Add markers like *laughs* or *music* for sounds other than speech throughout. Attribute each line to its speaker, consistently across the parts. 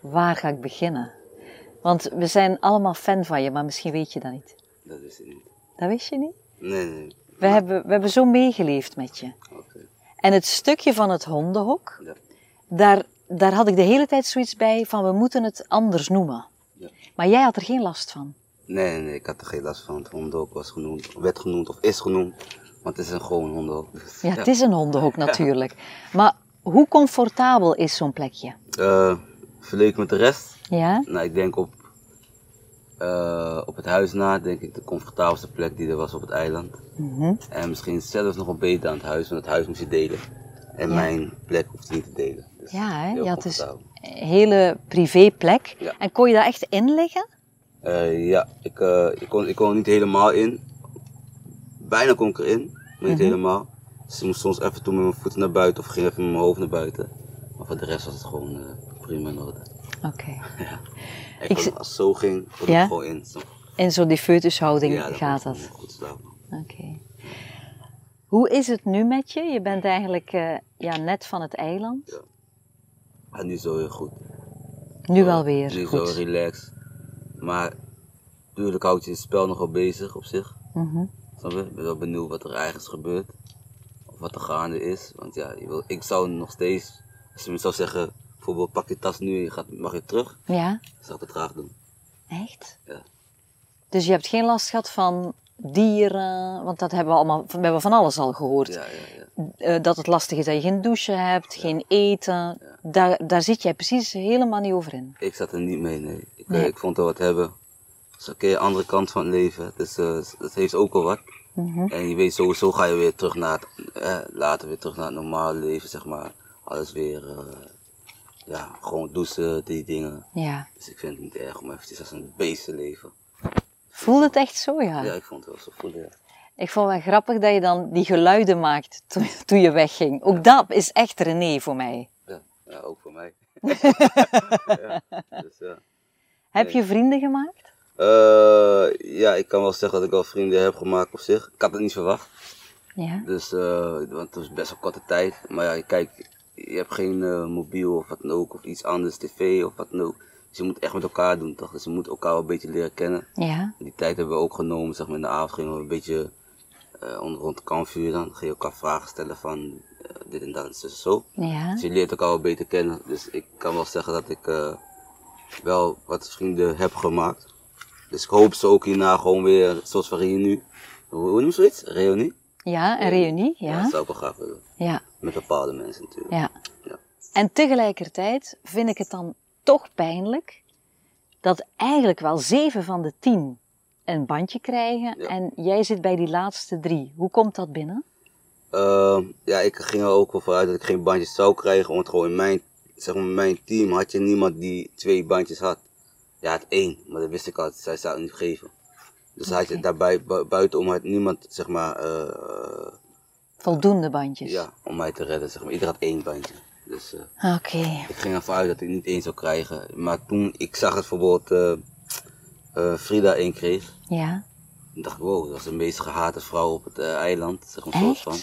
Speaker 1: waar ga ik beginnen? Want we zijn allemaal fan van je, maar misschien weet je dat niet.
Speaker 2: Dat is het niet.
Speaker 1: Dat wist je niet?
Speaker 2: Nee, nee.
Speaker 1: We, hebben, we hebben zo meegeleefd met je.
Speaker 2: Oké.
Speaker 1: En het stukje van het hondenhok,
Speaker 2: Ja.
Speaker 1: daar, daar had ik de hele tijd zoiets bij van we moeten het anders noemen.
Speaker 2: Ja.
Speaker 1: Maar jij had er geen last van.
Speaker 2: Nee, nee, ik had er geen last van. Het hondenhok was genoemd, werd genoemd of is genoemd. Want het is een gewoon hondenhok. Dus,
Speaker 1: Ja, het is een hondenhok natuurlijk. Maar hoe comfortabel is zo'n plekje?
Speaker 2: Eh, vergeleken met de rest,
Speaker 1: Ja?
Speaker 2: nou, ik denk op, eh, op het huis na, denk ik de comfortabelste plek die er was op het eiland.
Speaker 1: Mhm.
Speaker 2: En misschien zelfs nog een beter aan het huis, want het huis moest je delen. En
Speaker 1: Ja.
Speaker 2: mijn plek hoefde niet te delen. Dus
Speaker 1: Ja, hè?
Speaker 2: heel
Speaker 1: je had dus
Speaker 2: comfortabel.
Speaker 1: een hele privéplek.
Speaker 2: Ja.
Speaker 1: En kon je daar echt in liggen?
Speaker 2: Eh, ja, ik, eh, ik, kon, ik kon er niet helemaal in. Bijna kon ik erin, maar niet
Speaker 1: Mhm.
Speaker 2: helemaal. Dus ik moest soms even toen met mijn voeten naar buiten of ging even met mijn hoofd naar buiten. Maar voor de rest was het gewoon eh, prima in orde.
Speaker 1: Oké.
Speaker 2: Ik
Speaker 1: Ik
Speaker 2: kon-
Speaker 1: zi-
Speaker 2: als het zo ging, kon
Speaker 1: Ja?
Speaker 2: ik gewoon in. Zo-
Speaker 1: In zo'n defeutushouding
Speaker 2: ja, kon
Speaker 1: gaat
Speaker 2: ik
Speaker 1: dat.
Speaker 2: gewoon Goed slapen.
Speaker 1: Oké. Hoe is het nu met je? Je bent eigenlijk eh, ja, net van het eiland.
Speaker 2: En nu is het wel weer goed.
Speaker 1: Nu
Speaker 2: Zo,
Speaker 1: wel weer.
Speaker 2: Nu is het
Speaker 1: Goed.
Speaker 2: wel relaxed. Maar natuurlijk houdt je het spel nogal bezig op zich.
Speaker 1: Mhm.
Speaker 2: Snap je? Ik ben wel benieuwd wat er eigenlijk gebeurt. Of wat er gaande is. Want ja, je wil, ik zou nog steeds, als je me zou zeggen, bijvoorbeeld pak je tas nu en je gaat, mag je terug,
Speaker 1: Ja,
Speaker 2: zou ik het graag doen.
Speaker 1: echt?
Speaker 2: Ja.
Speaker 1: Dus je hebt geen last gehad van dieren, want dat hebben we allemaal, we hebben van alles al gehoord.
Speaker 2: Ja, ja, ja.
Speaker 1: Eh, dat het lastig is dat je geen douche hebt, geen eten. Daar, daar zit jij precies helemaal niet over in.
Speaker 2: Ik zat er niet mee, nee. Ik, eh,
Speaker 1: Nee.
Speaker 2: ik vond er wat hebben. Dus oké, een andere kant van het leven. Het, is, eh, het heeft ook al wat.
Speaker 1: Mhm.
Speaker 2: En je weet sowieso ga je weer terug naar het, eh, later weer terug naar het normale leven, zeg maar. Alles weer, eh, ja, gewoon douchen, die dingen.
Speaker 1: Ja.
Speaker 2: Dus ik vind het niet erg om eventjes als een beest te leven.
Speaker 1: Voelde het echt zo, ja?
Speaker 2: Ja, ik vond het wel zo voelen, ja.
Speaker 1: Ik vond het wel grappig dat je dan die geluiden maakt toen, toen je wegging. Ook dat is echt René voor mij.
Speaker 2: Ja, ja ook voor mij. ja, dus, ja.
Speaker 1: Heb je vrienden gemaakt?
Speaker 2: Eh, ja, ik kan wel zeggen dat ik wel vrienden heb gemaakt op zich. Ik had het niet verwacht.
Speaker 1: Ja.
Speaker 2: Dus, eh, want het was best wel korte tijd. Maar ja, kijk, je hebt geen eh, mobiel of wat dan ook, of iets anders, tv of wat dan ook. Dus je moet echt met elkaar doen, toch? Dus je moet elkaar wel een beetje leren kennen.
Speaker 1: Ja.
Speaker 2: Die tijd hebben we ook genomen, zeg maar, in de avond gingen we een beetje eh, onder rond het kampvuur dan. Ging je elkaar vragen stellen van eh, dit en dat en zo en zo.
Speaker 1: Ja.
Speaker 2: Dus je leert elkaar wel beter kennen. Dus ik kan wel zeggen dat ik eh, wel wat vrienden heb gemaakt. Dus ik hoop ze ook hierna gewoon weer, zoals van nu. Hoe hoe noem je zoiets? Reunie?
Speaker 1: Ja, een reunie. Ja.
Speaker 2: dat zou ik wel graag willen.
Speaker 1: Ja.
Speaker 2: Met bepaalde mensen natuurlijk.
Speaker 1: Ja.
Speaker 2: Ja.
Speaker 1: En tegelijkertijd vind ik het dan toch pijnlijk dat eigenlijk wel zeven van de tien een bandje krijgen
Speaker 2: Ja.
Speaker 1: en jij zit bij die laatste drie. Hoe komt dat binnen?
Speaker 2: Ehm, ja, ik ging er ook wel vooruit dat ik geen bandjes zou krijgen. Want gewoon in mijn, zeg maar, mijn team had je niemand die twee bandjes had. Je had één, maar dat wist ik al. Zij zou het niet geven. Dus had je daarbij, bu- buitenom had niemand, zeg maar, eh,
Speaker 1: Voldoende bandjes.
Speaker 2: Ja, om mij te redden, zeg maar. Ieder had één bandje. Dus eh,
Speaker 1: Oké.
Speaker 2: ik ging ervan uit dat ik niet één zou krijgen. Maar toen ik zag dat bijvoorbeeld eh, eh, Frida één kreeg,
Speaker 1: Ja.
Speaker 2: toen dacht ik, wow, dat was de meest gehate vrouw op het eh, eiland. Zeg maar, soort
Speaker 1: Echt?
Speaker 2: van.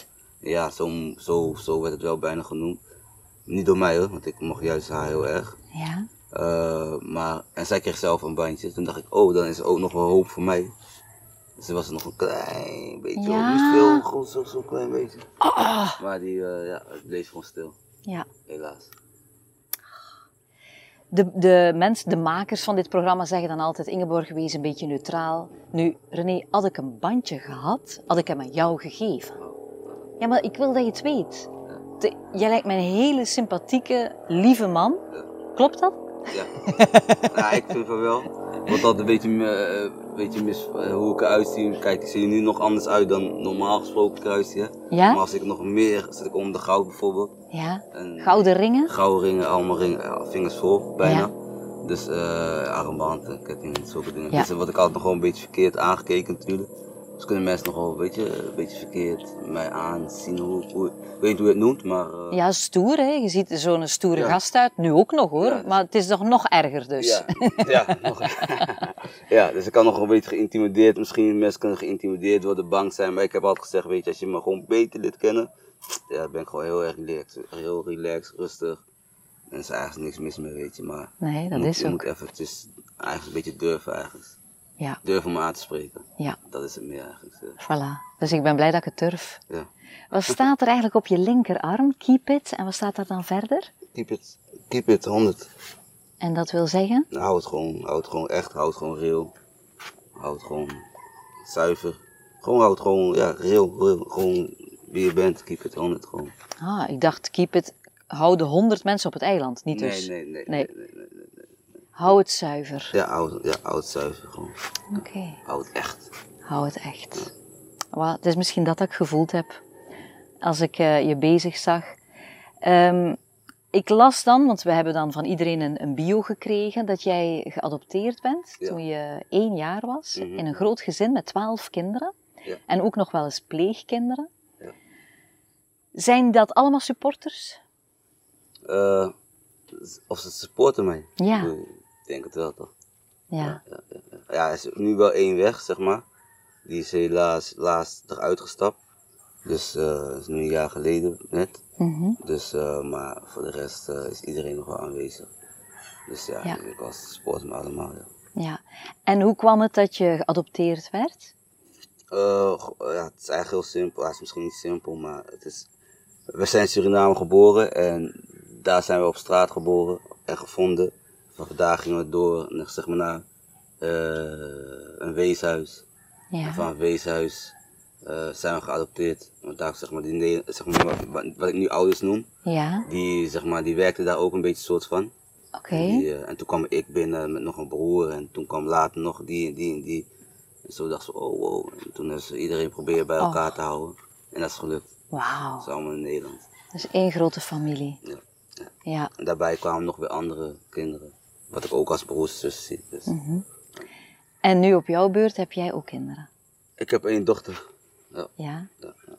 Speaker 2: Ja, zo, zo, zo werd het wel bijna genoemd. Niet door mij hoor, want ik mocht juist haar heel erg.
Speaker 1: Ja.
Speaker 2: Eh, maar, en zij kreeg zelf een bandje. Toen dacht ik, oh, dan is er ook nog wel hoop voor mij. Dus er was nog een klein beetje, hoop.
Speaker 1: Ja.
Speaker 2: niet veel, gewoon zo- zo'n klein beetje.
Speaker 1: Ah.
Speaker 2: Maar die, eh, ja, het bleef gewoon stil,
Speaker 1: Ja.
Speaker 2: helaas.
Speaker 1: De, de mensen, de makers van dit programma zeggen dan altijd, Ingeborg, wees een beetje neutraal. Nu, René, had ik een bandje gehad, had ik hem aan jou gegeven. Ja, maar ik wil dat je het weet. De- jij lijkt mij een hele sympathieke, lieve man. Klopt dat? *laughs*
Speaker 2: Ja. nou, ik vind van wel. Wordt altijd een beetje, eh, een beetje mis eh, hoe ik eruit zie. Kijk, ik zie er nu nog anders uit dan normaal gesproken eruit zie. hè. Maar
Speaker 1: Ja?
Speaker 2: als ik nog meer, zit ik om de goud bijvoorbeeld.
Speaker 1: Ja.
Speaker 2: En
Speaker 1: Gouden ringen?
Speaker 2: Gouden ringen, allemaal ringen, ja, vingers vol, bijna.
Speaker 1: Ja.
Speaker 2: Dus eh armbanden, kettingen, zulke dingen.
Speaker 1: Ja.
Speaker 2: Dus wat ik altijd nog wel een beetje verkeerd aangekeken natuurlijk. Dus kunnen mensen nog wel een beetje, eh, een beetje verkeerd mij aanzien, hoe, hoe, ik weet niet hoe je het noemt, maar... eh,
Speaker 1: Ja, stoer, hè? Je ziet er zo'n stoere
Speaker 2: Ja.
Speaker 1: gast uit. Nu ook nog, hoor.
Speaker 2: Ja, dus-
Speaker 1: Maar het is toch nog erger, dus. *laughs*
Speaker 2: Ja, ja, nog een- ja, dus ik kan nog een beetje geïntimideerd. Misschien mensen kunnen geïntimideerd worden, bang zijn. Maar ik heb altijd gezegd, weet je, als je me gewoon beter leert kennen, ja, dan ben ik gewoon heel erg relaxed. Heel relaxed, rustig. En er is eigenlijk niks mis mee, weet je. Maar
Speaker 1: Nee, dat
Speaker 2: je moet,
Speaker 1: is
Speaker 2: je
Speaker 1: ook.
Speaker 2: moet even, het is eigenlijk een beetje durven eigenlijk.
Speaker 1: Ja,
Speaker 2: Durven om aan te spreken.
Speaker 1: ja,
Speaker 2: Dat is het meer eigenlijk. ja.
Speaker 1: voilà. Dus ik ben blij dat ik het durf.
Speaker 2: Ja.
Speaker 1: Wat staat er eigenlijk op je linkerarm? Keep it. En wat staat daar dan verder?
Speaker 2: Keep it, keep it 100.
Speaker 1: En dat wil zeggen?
Speaker 2: Nou, Houd het gewoon, houd het gewoon echt, houd het gewoon real. Houd het gewoon zuiver. Gewoon houd het gewoon, ja, real, real. Gewoon wie je bent, keep it 100 gewoon.
Speaker 1: Ah, ik dacht, keep it. Hou de 100 mensen op het eiland, niet dus.
Speaker 2: nee, nee,
Speaker 1: nee. Hou het zuiver.
Speaker 2: Ja, houd, ja, houd het zuiver gewoon.
Speaker 1: Oké.
Speaker 2: Houd het echt.
Speaker 1: Hou het echt. Wel, het is misschien dat dat ik gevoeld heb als ik eh, je bezig zag. Ehm, ik las dan, want we hebben dan van iedereen een, een bio gekregen, dat jij geadopteerd bent
Speaker 2: Ja.
Speaker 1: toen je één jaar was,
Speaker 2: Mhm.
Speaker 1: in een groot gezin met twaalf kinderen.
Speaker 2: Ja.
Speaker 1: En ook nog wel eens pleegkinderen.
Speaker 2: Ja.
Speaker 1: Zijn dat allemaal supporters?
Speaker 2: Eh, of ze supporten mij.
Speaker 1: Ja.
Speaker 2: Ik bedoel, Ik denk het wel toch.
Speaker 1: Ja.
Speaker 2: Ja, er is nu wel één weg, zeg maar. Die is helaas laatst eruit gestapt. Dus eh, dat is nu een jaar geleden net.
Speaker 1: Mhm.
Speaker 2: Dus, eh, maar voor de rest eh, is iedereen nog wel aanwezig. Dus ja,
Speaker 1: Ja.
Speaker 2: ik was support me allemaal. Ja.
Speaker 1: ja. En hoe kwam het dat je geadopteerd werd?
Speaker 2: Eh, go- ja, het is eigenlijk heel simpel. Ja, het is misschien niet simpel, maar het is... We zijn in Suriname geboren en daar zijn we op straat geboren en gevonden. Van vandaag gingen we door, naar, zeg maar naar eh, een weeshuis. En
Speaker 1: Ja.
Speaker 2: van een weeshuis eh, zijn we geadopteerd. Want daar, zeg maar, die, ne- zeg maar wat- wat, wat ik nu ouders noem,
Speaker 1: Ja,
Speaker 2: die, zeg maar, die werkten daar ook een beetje soort van.
Speaker 1: oké.
Speaker 2: Die, eh, en toen kwam ik binnen met nog een broer en toen kwam later nog die en die en die. En zo dacht ze, oh wow. En toen is iedereen proberen bij elkaar te houden. En dat is gelukt.
Speaker 1: Wauw.
Speaker 2: Dat is allemaal in Nederland.
Speaker 1: Dus één grote familie.
Speaker 2: Ja.
Speaker 1: Ja.
Speaker 2: En daarbij kwamen nog weer andere kinderen. Wat ik ook als broers en zussen zie. Dus.
Speaker 1: Hm. Mhm. En nu op jouw beurt heb jij ook kinderen.
Speaker 2: Ik heb één dochter. Ja.
Speaker 1: Ja.
Speaker 2: Ja, ja.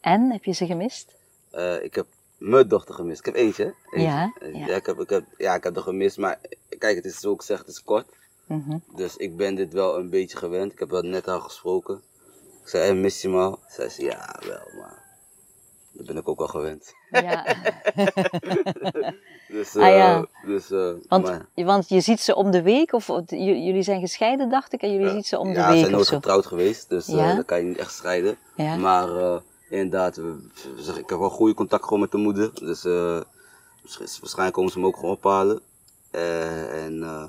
Speaker 1: En heb je ze gemist?
Speaker 2: Eh, ik heb mijn dochter gemist. Ik heb eentje. hè? Eentje.
Speaker 1: Ja,
Speaker 2: Eh,
Speaker 1: ja.
Speaker 2: ik, heb, ik, heb, ja ik heb er gemist. Maar kijk, het is zoals ik zeg, het is kort.
Speaker 1: Mhm.
Speaker 2: Dus ik ben dit wel een beetje gewend. Ik heb wel net haar gesproken. Ik zei, hey, mis je me al? Zei ze, ja, wel, maar dat ben ik ook wel gewend. *laughs*
Speaker 1: Ja.
Speaker 2: Dus,
Speaker 1: Ah,
Speaker 2: eh,
Speaker 1: ja.
Speaker 2: dus, eh,
Speaker 1: Want,
Speaker 2: maar-
Speaker 1: want je ziet ze om de week, of of j- jullie zijn gescheiden, dacht ik, en jullie zien ze om de
Speaker 2: ja, ze
Speaker 1: week
Speaker 2: zijn
Speaker 1: of
Speaker 2: nooit
Speaker 1: zo.
Speaker 2: getrouwd geweest, dus eh
Speaker 1: Ja?
Speaker 2: dat kan je niet echt scheiden.
Speaker 1: Ja.
Speaker 2: Maar eh, inderdaad, we- we zeggen, ik heb wel goede contact gewoon met de moeder. Dus eh, waarsch- waarschijnlijk komen ze me ook gewoon ophalen. Eh, en, eh,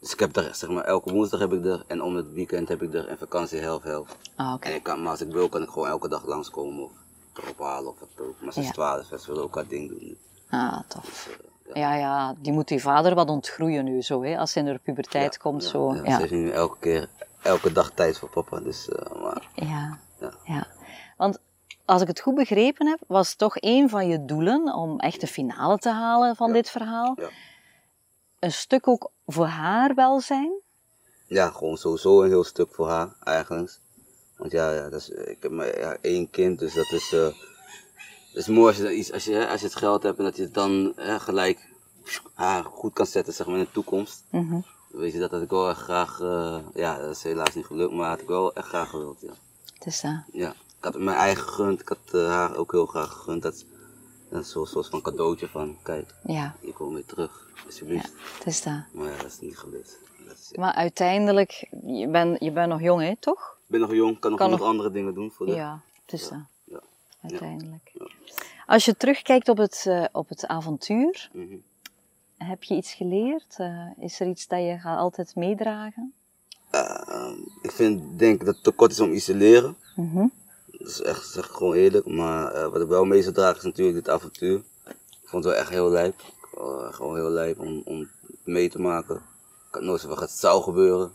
Speaker 2: dus ik heb er, zeg maar, elke woensdag heb ik er en om het weekend heb ik er en vakantie helft-helft.
Speaker 1: Ah, oké.
Speaker 2: En ik kan, maar als ik wil, kan ik gewoon elke dag langskomen of erop halen of wat ook. Maar ze is
Speaker 1: Ja.
Speaker 2: 12, dus ze willen ook haar ding doen.
Speaker 1: Ah, tof. Ja, ja, die moet die vader wat ontgroeien nu zo, hè, als ze in haar puberteit komt. zo.
Speaker 2: Ja,
Speaker 1: Ja.
Speaker 2: Ze heeft nu elke keer, elke dag tijd voor papa. Dus, eh, maar,
Speaker 1: Ja,
Speaker 2: Ja.
Speaker 1: ja. Want als ik het goed begrepen heb, was toch een van je doelen om echt de finale te halen van dit verhaal.
Speaker 2: Ja.
Speaker 1: Een stuk ook voor haar welzijn.
Speaker 2: ja, gewoon sowieso een heel stuk voor haar eigenlijk. Want ja, ja, dat is, ik heb maar ja, één kind, dus dat is, eh, dat is mooi als je, dan iets, als, je, hè, als je het geld hebt en dat je het dan hè, gelijk haar goed kan zetten zeg maar, in de toekomst.
Speaker 1: Mhm.
Speaker 2: Weet je, dat had ik wel echt graag, eh, ja, dat is helaas niet gelukt, maar had ik wel echt graag gewild, ja.
Speaker 1: Het is dat.
Speaker 2: Ja, ik had het mijn eigen gegund. Ik had eh, haar ook heel graag gegund. Dat is, dat is zo'n soort van cadeautje van, kijk,
Speaker 1: Ja,
Speaker 2: je komt weer terug, alsjeblieft.
Speaker 1: het is dat.
Speaker 2: Maar ja, dat is niet gelukt. Dat is-
Speaker 1: Maar uiteindelijk, je bent je bent nog jong, hè, toch?
Speaker 2: Ik ben nog jong, kan nog
Speaker 1: Kan
Speaker 2: honderd
Speaker 1: nog-
Speaker 2: andere dingen doen voor de...
Speaker 1: Ja, het is dat.
Speaker 2: ja.
Speaker 1: Uiteindelijk. Als je terugkijkt op het, eh, op het avontuur,
Speaker 2: Mhm.
Speaker 1: heb je iets geleerd? Eh, is er iets dat je gaat altijd meedragen?
Speaker 2: Ehm, ik vind, denk dat het tekort is om iets te leren.
Speaker 1: Mhm.
Speaker 2: Dat is echt, zeg ik gewoon eerlijk. Maar eh, wat ik wel mee zou dragen is natuurlijk dit avontuur. Ik vond het wel echt heel lijp. Eh, gewoon heel lijp om, om mee te maken. Ik had nooit verwacht dat het zou gebeuren.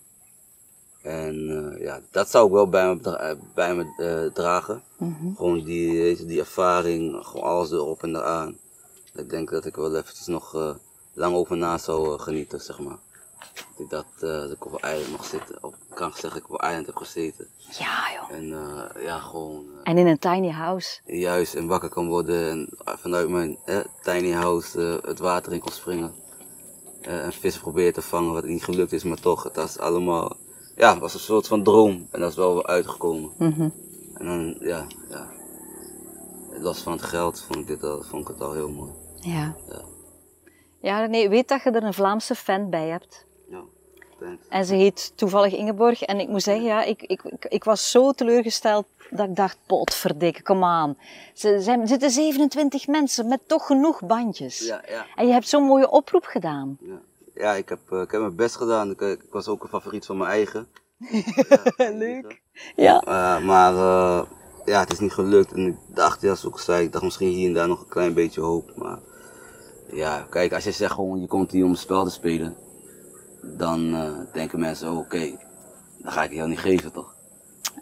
Speaker 2: En eh, ja, dat zou ik wel bij me, dra- eh, bij me eh, dragen.
Speaker 1: Mhm.
Speaker 2: Gewoon die, weet je, die ervaring, gewoon alles erop en eraan. Ik denk dat ik er wel eventjes nog eh, lang over na zou eh, genieten, zeg maar. Dat ik dat, eh, dat ik op een eiland mag zitten. Op, ik kan zeggen dat ik op een eiland heb gezeten.
Speaker 1: Ja, joh.
Speaker 2: En eh, ja, gewoon... eh,
Speaker 1: En in een tiny house.
Speaker 2: juist en wakker kan worden en vanuit mijn hè, tiny house eh, het water in kon springen. Eh, en vis proberen te vangen, wat niet gelukt is, maar toch, het was allemaal, ja, het was een soort van droom en dat is wel weer uitgekomen.
Speaker 1: Mhm.
Speaker 2: En dan, ja, ja. Los van het geld vond ik, dit al, vond ik het al heel mooi.
Speaker 1: Ja.
Speaker 2: Ja.
Speaker 1: Ja, nee, weet dat je er een Vlaamse fan bij hebt.
Speaker 2: Ja, thanks.
Speaker 1: En ze heet toevallig Ingeborg. En ik moet zeggen, ja, ik, ik, ik, ik was zo teleurgesteld dat ik dacht, potverdikke, kom aan. Ze zijn, er zitten 27 mensen met toch genoeg bandjes.
Speaker 2: Ja, ja.
Speaker 1: En je hebt zo'n mooie oproep gedaan.
Speaker 2: Ja, ja ik, heb, eh, ik heb mijn best gedaan. Ik, eh, ik was ook een favoriet van mijn eigen.
Speaker 1: Leuk. Ja.
Speaker 2: Eh, maar eh, ja, het is niet gelukt. En ik dacht, ja, zoals ik zei, ik dacht misschien hier en daar nog een klein beetje hoop. Maar ja, kijk, als je zegt gewoon, je komt hier om een spel te spelen, dan eh, denken mensen, oh, oké, dan ga ik jou niet geven, toch?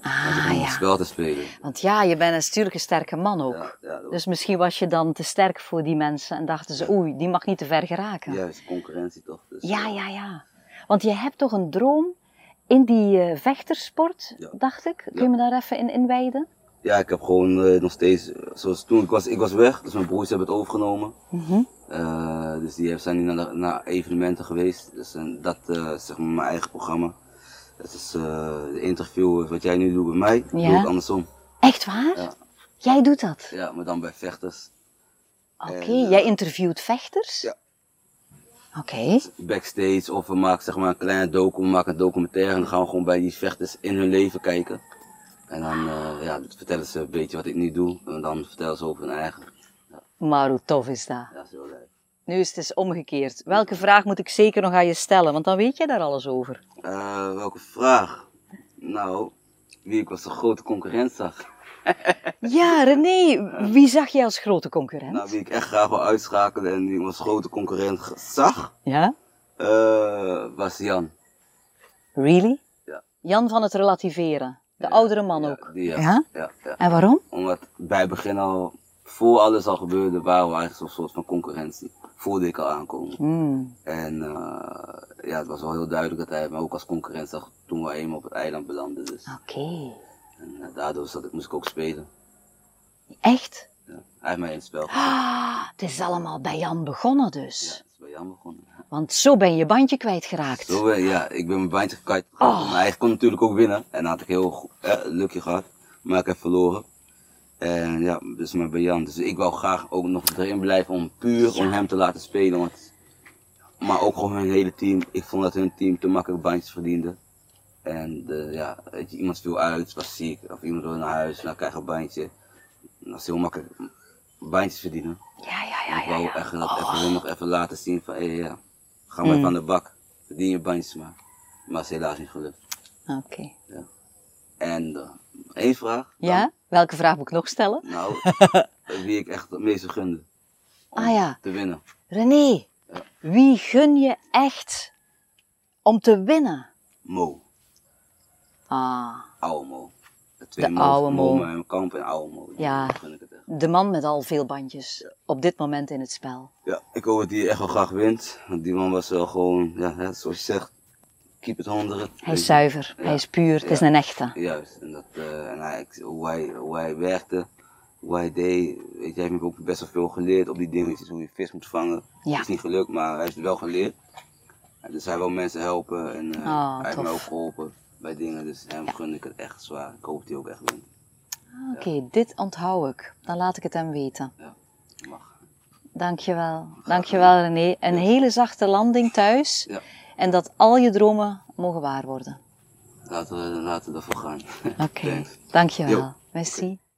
Speaker 2: Als je
Speaker 1: Ah
Speaker 2: komt om een
Speaker 1: ja.
Speaker 2: spel te spelen.
Speaker 1: Want ja, je bent natuurlijk een sterke man ook.
Speaker 2: Ja, ja, dat-
Speaker 1: Dus misschien was je dan te sterk voor die mensen en dachten ze, oei, die mag niet te ver geraken.
Speaker 2: Juist, concurrentie toch? Dus,
Speaker 1: Ja,
Speaker 2: eh,
Speaker 1: ja, ja. Want je hebt toch een droom in die eh, vechtersport,
Speaker 2: Ja.
Speaker 1: dacht ik. Kun je
Speaker 2: Ja.
Speaker 1: me daar even in inwijden?
Speaker 2: Ja, ik heb gewoon eh, nog steeds, eh, zoals toen, ik was, ik was weg, dus mijn broers hebben het overgenomen.
Speaker 1: Mhm.
Speaker 2: Eh, dus die zijn nu naar, naar evenementen geweest. Dus en dat eh, is zeg maar mijn eigen programma. Dat is eh de interview, wat jij nu doet bij mij,
Speaker 1: Ja.
Speaker 2: doe ik andersom.
Speaker 1: Echt waar?
Speaker 2: Ja.
Speaker 1: Jij doet dat?
Speaker 2: Ja, maar dan bij vechters.
Speaker 1: Oké,
Speaker 2: En, eh,
Speaker 1: jij interviewt vechters?
Speaker 2: ja.
Speaker 1: Oké.
Speaker 2: Backstage of we maken zeg maar een kleine docu, we maken een documentaire en dan gaan we gewoon bij die vechters in hun leven kijken. En dan eh, ja, vertellen ze een beetje wat ik nu doe en dan vertellen ze over hun eigen.
Speaker 1: Maar hoe tof is dat?
Speaker 2: Ja, eh, dat is wel leuk.
Speaker 1: Nu is het eens omgekeerd. Welke vraag moet ik zeker nog aan je stellen? Want dan weet jij daar alles over.
Speaker 2: Eh, welke vraag? Nou, wie ik was een grote concurrent zag.
Speaker 1: Ja, René, wie zag jij als grote concurrent?
Speaker 2: Nou, wie ik echt graag wil uitschakelen en die ik als grote concurrent ge- zag,
Speaker 1: Ja?
Speaker 2: eh, was Jan.
Speaker 1: Really?
Speaker 2: Ja.
Speaker 1: Jan van het relativeren. De oudere man
Speaker 2: Ja,
Speaker 1: ook.
Speaker 2: die, ja.
Speaker 1: Ja?
Speaker 2: Ja, ja.
Speaker 1: En waarom?
Speaker 2: Omdat bij het begin al, voor alles al gebeurde, waren we eigenlijk een soort van concurrentie. Voelde ik al aankomen.
Speaker 1: Hmm.
Speaker 2: En eh, ja, het was wel heel duidelijk dat hij mij ook als concurrent zag toen we eenmaal op het eiland belanden. Dus.
Speaker 1: Oké.
Speaker 2: En, eh, daardoor zat ik, moest ik ook spelen.
Speaker 1: Echt?
Speaker 2: Ja. Hij heeft mij in het spel. gezet.
Speaker 1: Ah, het is allemaal bij Jan begonnen
Speaker 2: Ja,
Speaker 1: dus.
Speaker 2: dat is bij Jan begonnen.
Speaker 1: Want zo ben je bandje kwijtgeraakt.
Speaker 2: Zo, eh, ja, ik ben mijn baantje gekwijt.
Speaker 1: Oh.
Speaker 2: Maar hij kon natuurlijk ook winnen. En dan had ik heel goed, eh, lucky gehad. Maar ik heb verloren. En ja, dus maar bij Jan. Dus ik wou graag ook nog erin blijven om puur om hem te laten spelen. Want, maar ook gewoon hun hele team. Ik vond dat hun team te makkelijk bandjes verdiende. En eh, ja, weet je, iemand viel uit, was ziek. Of iemand wil naar huis, dan krijg je een bandje. Dat is heel makkelijk bandjes verdienen.
Speaker 1: Ja, ja, ja,
Speaker 2: Ik
Speaker 1: ja.
Speaker 2: wou
Speaker 1: ja. Oh.
Speaker 2: echt dat even hun nog even laten zien van, hé, ja, ga maar even aan de bak. Verdien je bandjes maar. Maar dat is helaas niet gelukt.
Speaker 1: Oké.
Speaker 2: En eh, één vraag. dan.
Speaker 1: Ja? Welke vraag moet ik nog stellen? *laughs*
Speaker 2: Nou, wie ik echt het meeste gunde. om
Speaker 1: Ah, ja.
Speaker 2: Te winnen.
Speaker 1: René, wie gun je echt om te winnen?
Speaker 2: Mo.
Speaker 1: Ah,
Speaker 2: Oude Mo. De, twee
Speaker 1: De
Speaker 2: Mo's,
Speaker 1: oude Mo.
Speaker 2: Mo en Kamp en oude Mo. Die
Speaker 1: Ja.
Speaker 2: Gun ik het echt.
Speaker 1: de man met al veel bandjes op dit moment in het spel.
Speaker 2: Ja, ik hoop dat hij echt wel graag wint. Want die man was wel gewoon, ja, hè, zoals je zegt, keep it 100.
Speaker 1: Hij is zuiver, hij is puur, het is
Speaker 2: Ja.
Speaker 1: een echte.
Speaker 2: Juist, en, dat, eh, en hij, hoe, hij, hoe hij werkte, hoe hij deed. Weet je, hij heeft me ook best wel veel geleerd op die dingetjes, hoe je vis moet vangen.
Speaker 1: Ja.
Speaker 2: Is niet gelukt, maar hij heeft het wel geleerd. En dus hij wil mensen helpen en eh,
Speaker 1: Ah,
Speaker 2: hij heeft
Speaker 1: tof.
Speaker 2: me ook geholpen bij dingen. Dus hem gun ik het echt zwaar. Ik hoop dat hij ook echt wint.
Speaker 1: Oké, dit onthoud ik. Dan laat ik het hem weten.
Speaker 2: Ja, mag.
Speaker 1: Dankjewel. Dankjewel René. Een hele zachte landing thuis.
Speaker 2: Ja.
Speaker 1: En dat al je dromen mogen waar worden.
Speaker 2: Laten we, laten we ervoor gaan. *laughs*
Speaker 1: Oké,
Speaker 2: Thanks.
Speaker 1: dankjewel.
Speaker 2: Jo.
Speaker 1: Merci.